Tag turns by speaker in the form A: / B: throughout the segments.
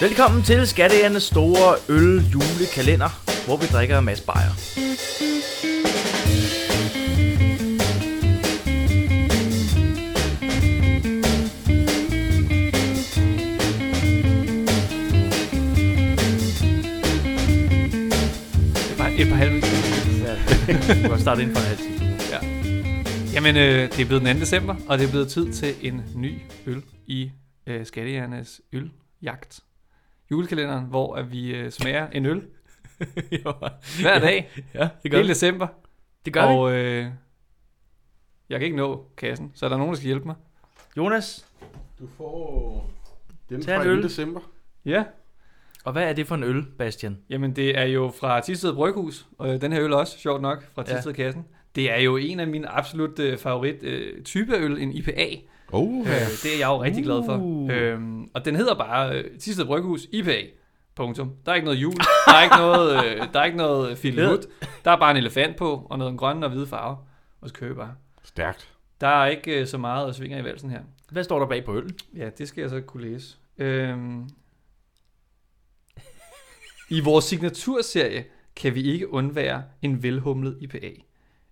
A: Velkommen til Skatteernes store øl julekalender, hvor vi drikker en masse bajer.
B: Et par, et par halve timer.
A: Vi kan godt starte ind for en halv time.
B: Ja. Jamen, øh, det er blevet den 2. december, og det er blevet tid til en ny øl i øh, Skattejernes øljagt. Julekalenderen, hvor at vi øh, smager en øl
C: jo.
B: hver dag,
C: Ja, det gør
B: hele
C: det.
B: december.
A: Det gør og... vi.
B: og øh, jeg kan ikke nå kassen, så er der nogen, der skal hjælpe mig.
A: Jonas,
D: Du får dem
A: Tag en
D: fra
A: øl.
D: 2. december.
B: Ja,
A: og hvad er det for en øl, Bastian?
B: jamen det er jo fra Tisted Bryghus, og øh, den her øl er også, sjovt nok, fra
A: Ja.
B: Tisted Kassen. Det er jo en af mine absolut øh, favorit øh, type øl, en IPA.
D: Oh,
B: Øh, det er jeg jo rigtig glad for.
A: Uh.
B: Øhm, og den hedder bare øh, Tisted Bryghus IPA. Punktum. Der er ikke noget jul, der er ikke noget, øh, der er ikke noget
A: Led.
B: filmut. Der er bare en elefant på, og noget grøn og hvide farve. Og så kører vi bare.
D: Stærkt.
B: Der er ikke øh, så meget at svinge i valsen her.
A: Hvad står der bag på øllen?
B: Ja, det skal jeg så kunne læse. Øhm, I vores signaturserie kan vi ikke undvære en velhumlet IPA.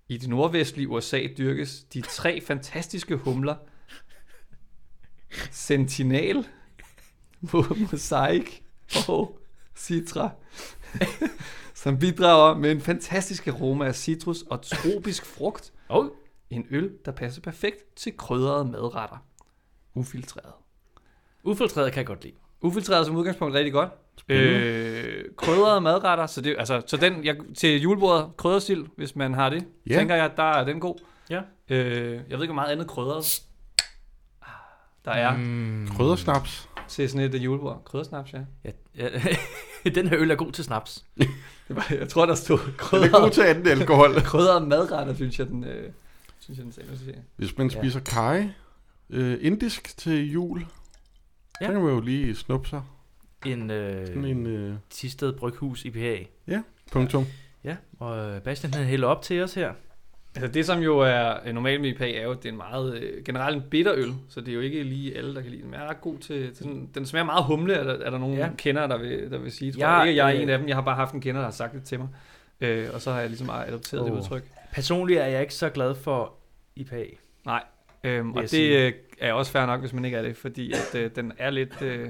B: I det nordvestlige USA dyrkes de tre fantastiske humler. Sentinel, Mosaic og Citra, som bidrager med en fantastisk aroma af citrus og tropisk frugt.
A: Oh.
B: En øl, der passer perfekt til krydrede madretter. Ufiltreret.
A: Ufiltreret kan jeg godt lide.
B: Ufiltreret som udgangspunkt rigtig godt. Øh, krydrede madretter, så, det, altså, så den, jeg, til julebordet, kryddersild, hvis man har det,
D: Ja.
B: yeah. tænker jeg, der er den god.
A: Ja.
B: Øh, jeg ved ikke, hvor meget andet krydret Ah, der er mm.
A: Mm.
D: Kryddersnaps.
B: til sådan et øh, julebord. Kryddersnaps, ja.
A: Ja, ja. den her øl er god til snaps.
B: Det var, jeg tror, der stod
D: Den er god
B: krydrede,
D: til anden alkohol.
B: krydrede madretter, synes jeg, den, øh, synes jeg, den sagde. Synes jeg.
D: Hvis man
A: Ja.
D: spiser kaj, øh, indisk til jul,
A: Ja. Øh.
D: ja. så kan man jo lige snuppe sig.
A: En
D: Sådan
A: øh,
D: en øh,
A: Tisted Bryghus IPA.
D: punktum.
A: Ja, og øh, Bastian han hælder op til os her.
B: Altså det, som jo er øh, normalt med IPA, er jo, at det er en meget, øh, generelt en bitter øl, så det er jo ikke lige alle, der kan lide den. Men jeg er ret god til, til sådan, den smager meget humle, er der, er der nogen
A: Ja.
B: ja. kender, der vil, der vil sige. Tror
A: Jeg-
B: jeg, ikke, at jeg
A: øh,
B: er en af dem, jeg har bare haft en kender, der har sagt det til mig. Øh, og så har jeg ligesom adopteret oh. det
A: Åh.
B: udtryk.
A: Personligt er jeg ikke så glad for IPA.
B: Øhm, og
A: jeg
B: det
A: sige.
B: øh, er også fair nok, hvis man ikke er det, fordi at, øh, den er lidt øh,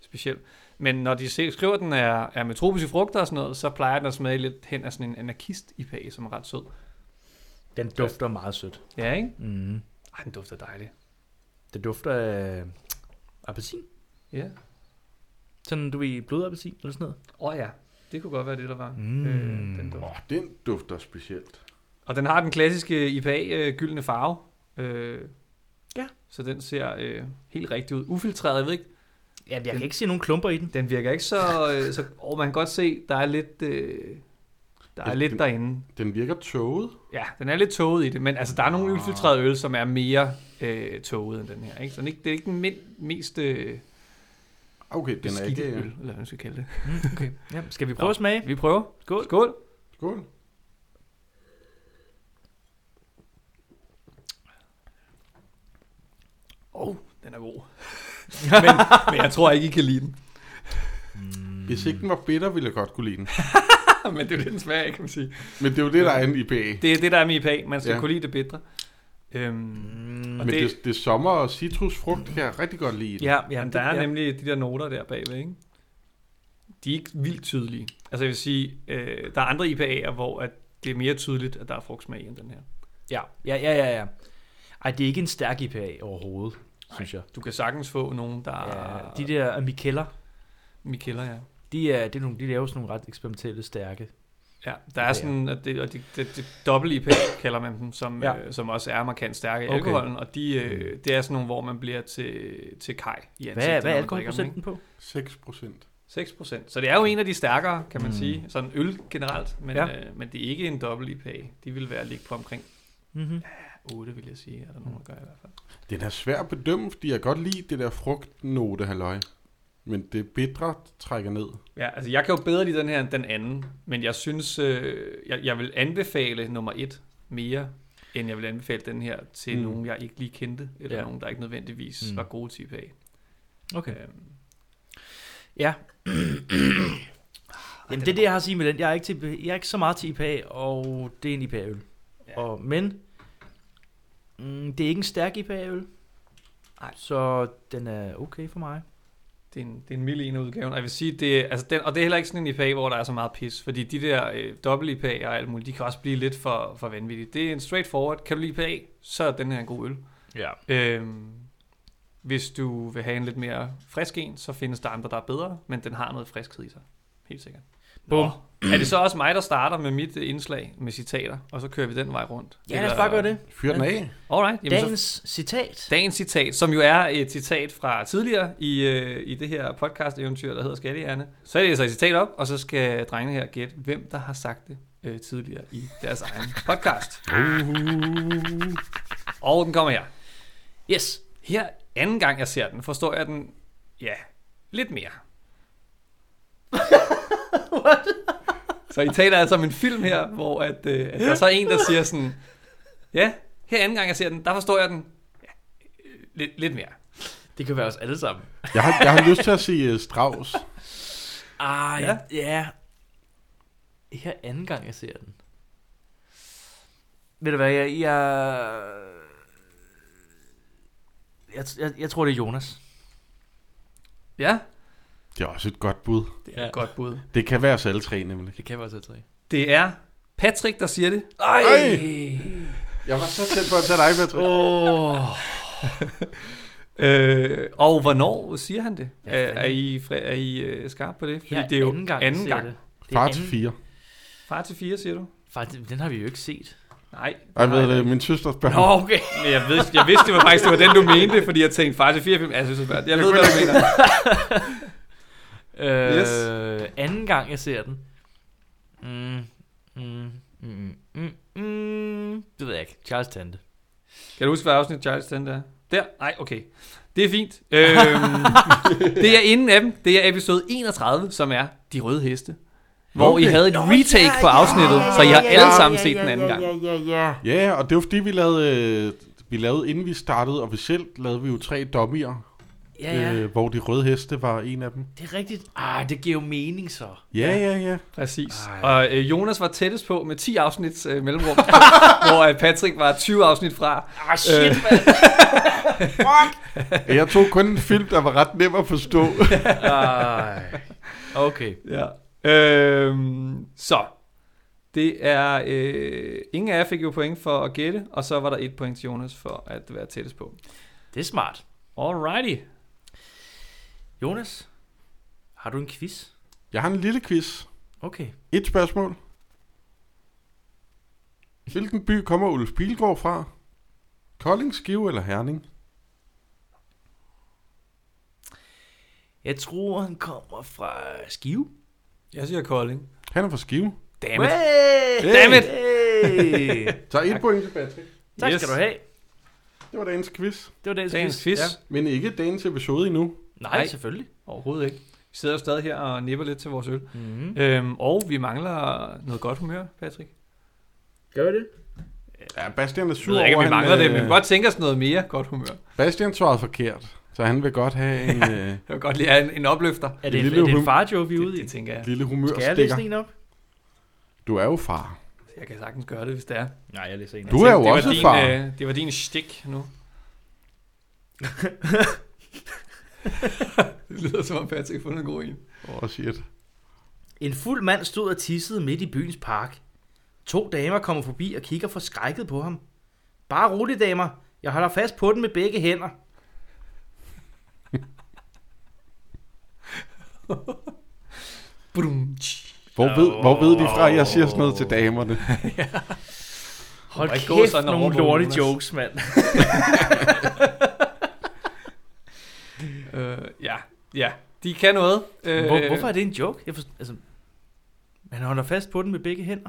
B: speciel. Men når de selv skriver, at den er, er med tropiske frugter og sådan noget, så plejer den at smage lidt hen af sådan en anarkist-IPA, som er ret sød.
A: Den dufter meget sødt.
B: Ja, ikke?
A: Mm.
B: Ej, den dufter dejligt.
A: Det dufter af appelsin.
B: Ja.
A: Sådan, du ved, blodappelsin eller sådan noget.
B: Åh oh, ja, det kunne godt være det, der var.
A: Mm.
B: Øh, den duft.
D: Åh, den dufter specielt.
B: Og den har den klassiske IPA-gyldne farve. Øh,
A: Ja.
B: Så den ser øh, helt rigtig ud. Ufiltreret, jeg ved ikke.
A: Ja, jeg kan ikke se nogen klumper i den.
B: Den virker ikke så... Øh, så og man kan godt se, der er lidt... Øh, der er
D: Ja,
B: lidt
D: den-
B: derinde.
D: Den virker tåget.
B: Ja, den er lidt tåget i det, men altså, der er
A: Ah.
B: nogle ufiltrerede øl, som er mere øh, tåget end den her. Ikke? Så den er ikke, det er ikke den min, mest øh,
D: Okay, den er
B: beskidte
D: ikke... øh,
B: øl, eller hvad man skal kalde det.
A: Okay. Ja, skal vi prøve at smage?
B: Vi prøver.
A: Skål.
B: Skål.
D: Skål.
B: Åh, oh, den er god. men, men jeg tror ikke, I kan lide den.
D: Mm.
A: Mm.
D: Hvis ikke den var bitter, ville jeg godt kunne lide den.
B: men det er jo det, den smager, kan man sige.
D: Men det er jo det, der er en IPA.
A: Mm.
B: Det er det, der er med IPA. Man skal ja.
D: Ja.
B: kunne lide det bedre. Øhm,
A: Mm.
D: Men det,
B: det-
D: det, det sommer- og citrusfrugt kan jeg rigtig godt lide. i den.
B: ja, ja,
A: det-
B: der er
A: ja.
B: nemlig de der noter der bagved, ikke? De er ikke vildt tydelige. Altså jeg vil sige, øh, der er andre IPA'er, hvor at det er mere tydeligt, at der er frugtsmag i end den her.
A: Ja, ja, ja, ja, ja. Ej, det er ikke en stærk IPA overhovedet, synes jeg.
B: Du kan sagtens få nogen,
A: Ah.
B: der
A: Ja,
B: er...
A: de der Mikeller,
B: Mikeller, ja.
A: de, er, det er nogle, de laver sådan nogle ret eksperimentelle stærke.
B: Ja, der er sådan, at det, og det, det, det dobbelt IPA kalder man dem, som,
A: Ja.
B: ja. øh, som også er markant stærke i
A: Okay.
B: okay. alkoholen, og de, øh, det er sådan nogle, hvor man bliver til, til kaj i ansigtet.
A: Hvad, hvad
B: når
A: er
B: man drikker dem, ikke?
A: alkoholprocenten på?
D: 6 procent.
B: 6 Så det er jo en af de stærkere, kan man
A: Mm.
B: mm. sige. Sådan øl generelt, men,
A: Ja.
B: ja. øh, men det er ikke en dobbelt IPA. De vil være ligge på omkring
A: Mm-hmm.
B: 8, vil jeg sige. Er der nogen, der gør i hvert fald.
D: Den er svær at bedømme, fordi jeg kan godt lide det der frugtnote, halløj. Men det bitre trækker ned.
B: Ja, altså jeg kan jo bedre lide den her end den anden, men jeg synes, øh, jeg, jeg vil anbefale nummer 1 mere, end jeg vil anbefale den her til
D: Mm.
B: mm. nogen, jeg ikke lige kendte, eller
A: Ja.
B: ja. nogen, der ikke nødvendigvis
A: Mm.
B: mm. var gode til IPA.
A: Okay.
B: Øhm,
A: Ja. Jamen, det er det, jeg har at sige med den. Jeg er ikke, til, jeg er ikke så meget til IPA, og det er en IPA-øl.
B: Ja.
A: Ja. Og, men mm, det er ikke en stærk IPA-øl.
B: Nej.
A: Så den er okay for mig.
B: Det er en, det er en mild en af udgaven. Og jeg vil sige, det, er- altså den, og det er heller ikke sådan en IPA, hvor der er så meget pis. Fordi de der øh, dobbelt IPA'er og alt muligt, de kan også blive lidt for, for vanvittige. Det er en straightforward. Kan du lide IPA, så er den her en god øl.
A: Ja.
B: Øhm, hvis du vil have en lidt mere frisk en, så findes der andre, der er bedre, men den har noget friskhed i sig. Helt sikkert.
A: Bum.
B: Er det så også mig, der starter med mit øh, indslag med citater, og så kører vi den vej rundt?
A: Ja, lad os bare gøre det.
D: Fyr den af.
B: Alright. Jamen, så,
A: Dagens citat.
B: dagens citat, som jo er et citat fra tidligere i, øh, i det her podcast-eventyr, der hedder Skattehjerne. Så er det så et citat op, og så skal drengene her gætte, hvem der har sagt det øh, tidligere i deres egen podcast. Og den kommer her.
A: Yes.
B: Her anden gang jeg ser den, forstår jeg den, ja, lidt mere. What? så I taler altså om en film her, hvor at, øh, at der så er en, der siger sådan, ja, her anden gang jeg ser den, der forstår jeg den, ja, øh, lidt, lidt mere.
A: Det kan være os alle sammen.
D: Jeg har, jeg har lyst til at sige uh, Strauss.
A: Ah,
B: Ja.
A: ja. ja. Her anden gang, jeg ser den. Ved du hvad, jeg... Jeg, jeg, jeg, jeg tror, det er Jonas.
B: Ja,
D: Det er også et godt bud.
B: det er ja. et godt bud.
D: Det kan være os alle tre, nemlig.
A: Det kan være til tre.
B: Det er Patrick, der siger det.
A: Ej!
D: Ej! Jeg var så tæt på at tage dig, Patrick.
B: Oh. øh, og hvornår siger han det?
A: Ja,
B: Ja, er, er
A: fanden.
B: I, fri- er I øh, skarpe på det? Fordi
A: Her
B: det er jo
A: anden gang,
B: anden
A: jeg ser
B: gang.
A: Det. Det er
D: Far til
A: anden-
D: fire.
B: Far til fire, siger du?
A: Faktisk, den har vi jo ikke set.
B: Nej.
D: Ej,
B: nej,
D: ved
B: nej.
D: det, min søsters børn.
A: Nå, okay.
B: Men Jeg, ved, jeg vidste, det var faktisk det var den, du mente, fordi jeg tænkte, far til fire film, jeg synes, det er svært. Jeg ved, hvad du mener.
A: Øh,
B: Yes.
A: Anden gang, jeg ser den. Mm, mm, mm, mm, mm, det ved jeg ikke. Charles Tante.
B: Kan du huske, hvad afsnit Charles den der? Der? Nej, okay. Det er fint. Øhm, det er inden af dem. Det er episode 31, som er De Røde Heste. Hvor I
D: Okay.
B: havde et retake på afsnittet, så I har alle sammen set den anden gang.
D: Ja, og det var fordi, vi lavede, øh, vi lavede, inden vi startede officielt, lavede vi jo tre dommier,
A: Ja, ja.
D: øh, hvor de røde heste var en af dem.
A: Det er rigtigt. Ah, det giver jo mening så.
D: Ja, ja, ja.
B: Præcis.
A: Ej.
B: Og øh, Jonas var tættest på med 10 afsnit øh, mellemrum, hvor øh, Patrick var 20 afsnit fra.
A: Ah, shit,
B: Øh.
A: øh.
D: Jeg tog kun en film, der var ret nem at forstå.
A: Okay.
B: Ja. Øhm, så. Det er... Øh, ingen af jer fik jo point for at gætte, og så var der et point til Jonas for at være tættest på.
A: Det er smart.
B: Alrighty.
A: Jonas, har du en quiz?
D: Jeg har en lille quiz.
A: Okay.
D: Et spørgsmål. Hvilken by kommer Ulf Bilgaard fra? Kolding, Skive eller Herning?
A: Jeg tror, han kommer fra Skive.
B: Jeg siger Kolding.
D: Han er fra Skive.
B: Damn it.
A: Hey!
B: Damn it!
A: Hey!
D: Så et point til Patrick.
A: tak skal
B: Yes.
A: du have.
D: Det var dagens quiz.
A: Det var dagens,
B: Dagens quiz. Ja.
D: Men ikke dagens episode endnu.
A: Nej,
B: Nej.
A: selvfølgelig.
B: Overhovedet ikke. Vi sidder jo stadig her og nipper lidt til vores øl.
A: Mm-hmm.
B: Øhm, og vi mangler noget godt humør, Patrick.
A: Gør vi det?
D: Ja, Bastian er
B: Jeg
D: sur
B: ved ikke, om vi
D: over, han,
B: mangler det,
D: øh,
B: men vi kan godt tænke os noget mere godt humør.
D: Bastian svarede forkert, så han vil godt have en øh,
B: Jeg vil godt lige have en, en opløfter.
A: Er det,
D: Lille
A: er det
D: hum-
A: en farjoke, vi er
B: Det,
A: ude i?
B: det tænker jeg.
D: lille
A: Skal jeg læse
D: humørstikker.
A: en op?
D: Du er jo far.
B: Jeg kan sagtens gøre det, hvis det er.
A: Nej, jeg læser en
D: Du er jo
B: det var
D: også
B: din,
D: far.
B: Øh, det var din stik nu. det lyder som om Patrick har fundet en god en.
D: Åh, oh, shit.
A: En fuld mand stod og tissede midt i byens park. To damer kommer forbi og kigger forskrækket på ham. Bare rolig, damer. Jeg holder fast på den med begge hænder.
B: Brum.
D: Hvor ved, hvor ved de fra, at jeg siger sådan noget til damerne?
A: Hold
B: må ikke
A: kæft,
B: gå sådan og
A: nogle
B: råbe,
A: lorte
B: Jonas.
A: jokes, mand.
B: Øh, ja, ja. De kan noget. Øh,
A: Hvor, hvorfor er det en joke? Jeg forstår, altså, man holder fast på den med begge hænder.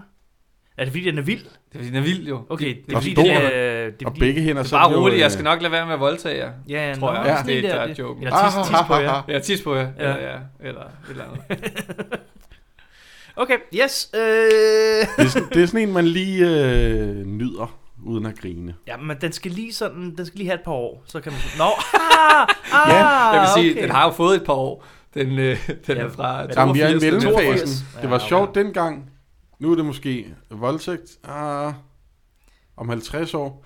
A: Er det fordi, den er vild?
B: Det er fordi, den er vild jo.
A: Okay, det,
B: det
A: er
D: og
A: fordi,
D: stor.
A: den er... Det er
D: Og
A: fordi,
D: begge hænder
B: Det er
D: så er
B: bare
D: det jo,
B: roligt,
D: øh,
B: jeg skal nok lade være med at voldtage jer.
A: Ja,
B: tror
A: tror
B: jeg.
A: jeg.
D: Ja.
A: Sådan en
B: Det er
A: der,
B: et joke.
A: Eller tis, tis på jer.
D: Ahahaha.
B: Ja, tis på jer. Ja.
A: Ja.
B: Eller, ja, eller et eller andet.
A: Okay, yes. Øh...
D: Det er, sådan, det er sådan en, man lige øh, nyder, uden at grine.
A: Ja, men den skal lige sådan, den skal lige have et par år, så kan man... Nå, ah, ah,
D: Ja,
B: Jeg vil sige,
A: okay.
B: den har jo fået et par år. Den, øh, den er fra
A: Ja,
D: Jamen, vi er i
B: 82 til 82.
D: mellemfasen.
A: 82.
D: Det var
A: Ja, okay.
D: sjovt dengang. Nu er det måske voldtægt. Ah, om 50 år.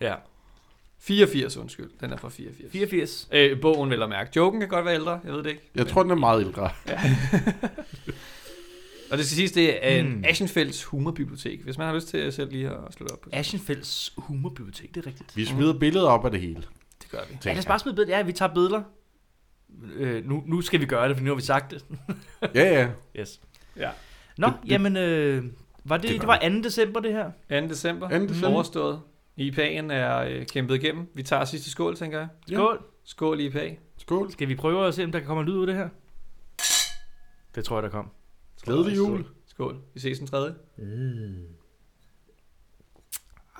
B: Ja. 84, undskyld. Den er fra 84.
A: 84.
B: Øh, bogen vil jeg mærke. Joken kan godt være ældre, jeg ved det ikke.
D: Jeg tror, den er meget ældre.
B: Og det skal siges, det er en
A: Hmm.
B: mm. Aschenfelds humorbibliotek, hvis man har lyst til øh, selv lige at slutte op på det.
A: Aschenfelds humorbibliotek, det er rigtigt.
D: Vi smider billeder op af det hele.
B: Det gør vi.
A: Ja, lad os bare smide billeder. Ja, vi tager billeder. Øh, nu, nu skal vi gøre det, for nu har vi sagt det.
D: Ja, ja.
A: Yes.
B: Ja.
A: Nå,
D: Det-
A: det,
D: det-
A: jamen, øh, var det,
D: det
A: det,
D: var-
A: det var 2. december, det her?
B: 2. december.
D: 2. december.
B: Overstået. IPA'en er øh, kæmpet igennem. Vi tager sidste skål, tænker jeg.
D: Ja.
A: Skål.
B: Skål IPA.
D: Skål.
A: Skal vi prøve at se, om der kan komme en lyd ud af det her? Det tror jeg, der kom.
D: Glædelig jul.
B: Skål. Vi ses den tredje.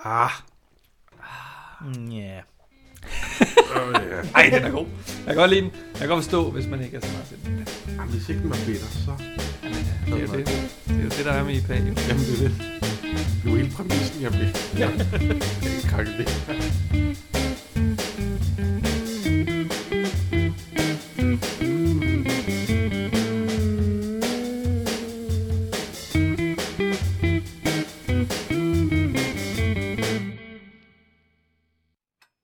A: Ah. Mm, Ja.
B: Ej, den er god. Jeg kan godt lide den. Jeg kan godt forstå, hvis man ikke er så meget selv. Det
D: Jamen, hvis ikke den var bitter, så...
B: er jo det. Det er jo det, der er med IPA. Jo.
D: Jamen, det er det. Det er jo hele præmissen, jeg blev. Ja. Jeg kan ikke det.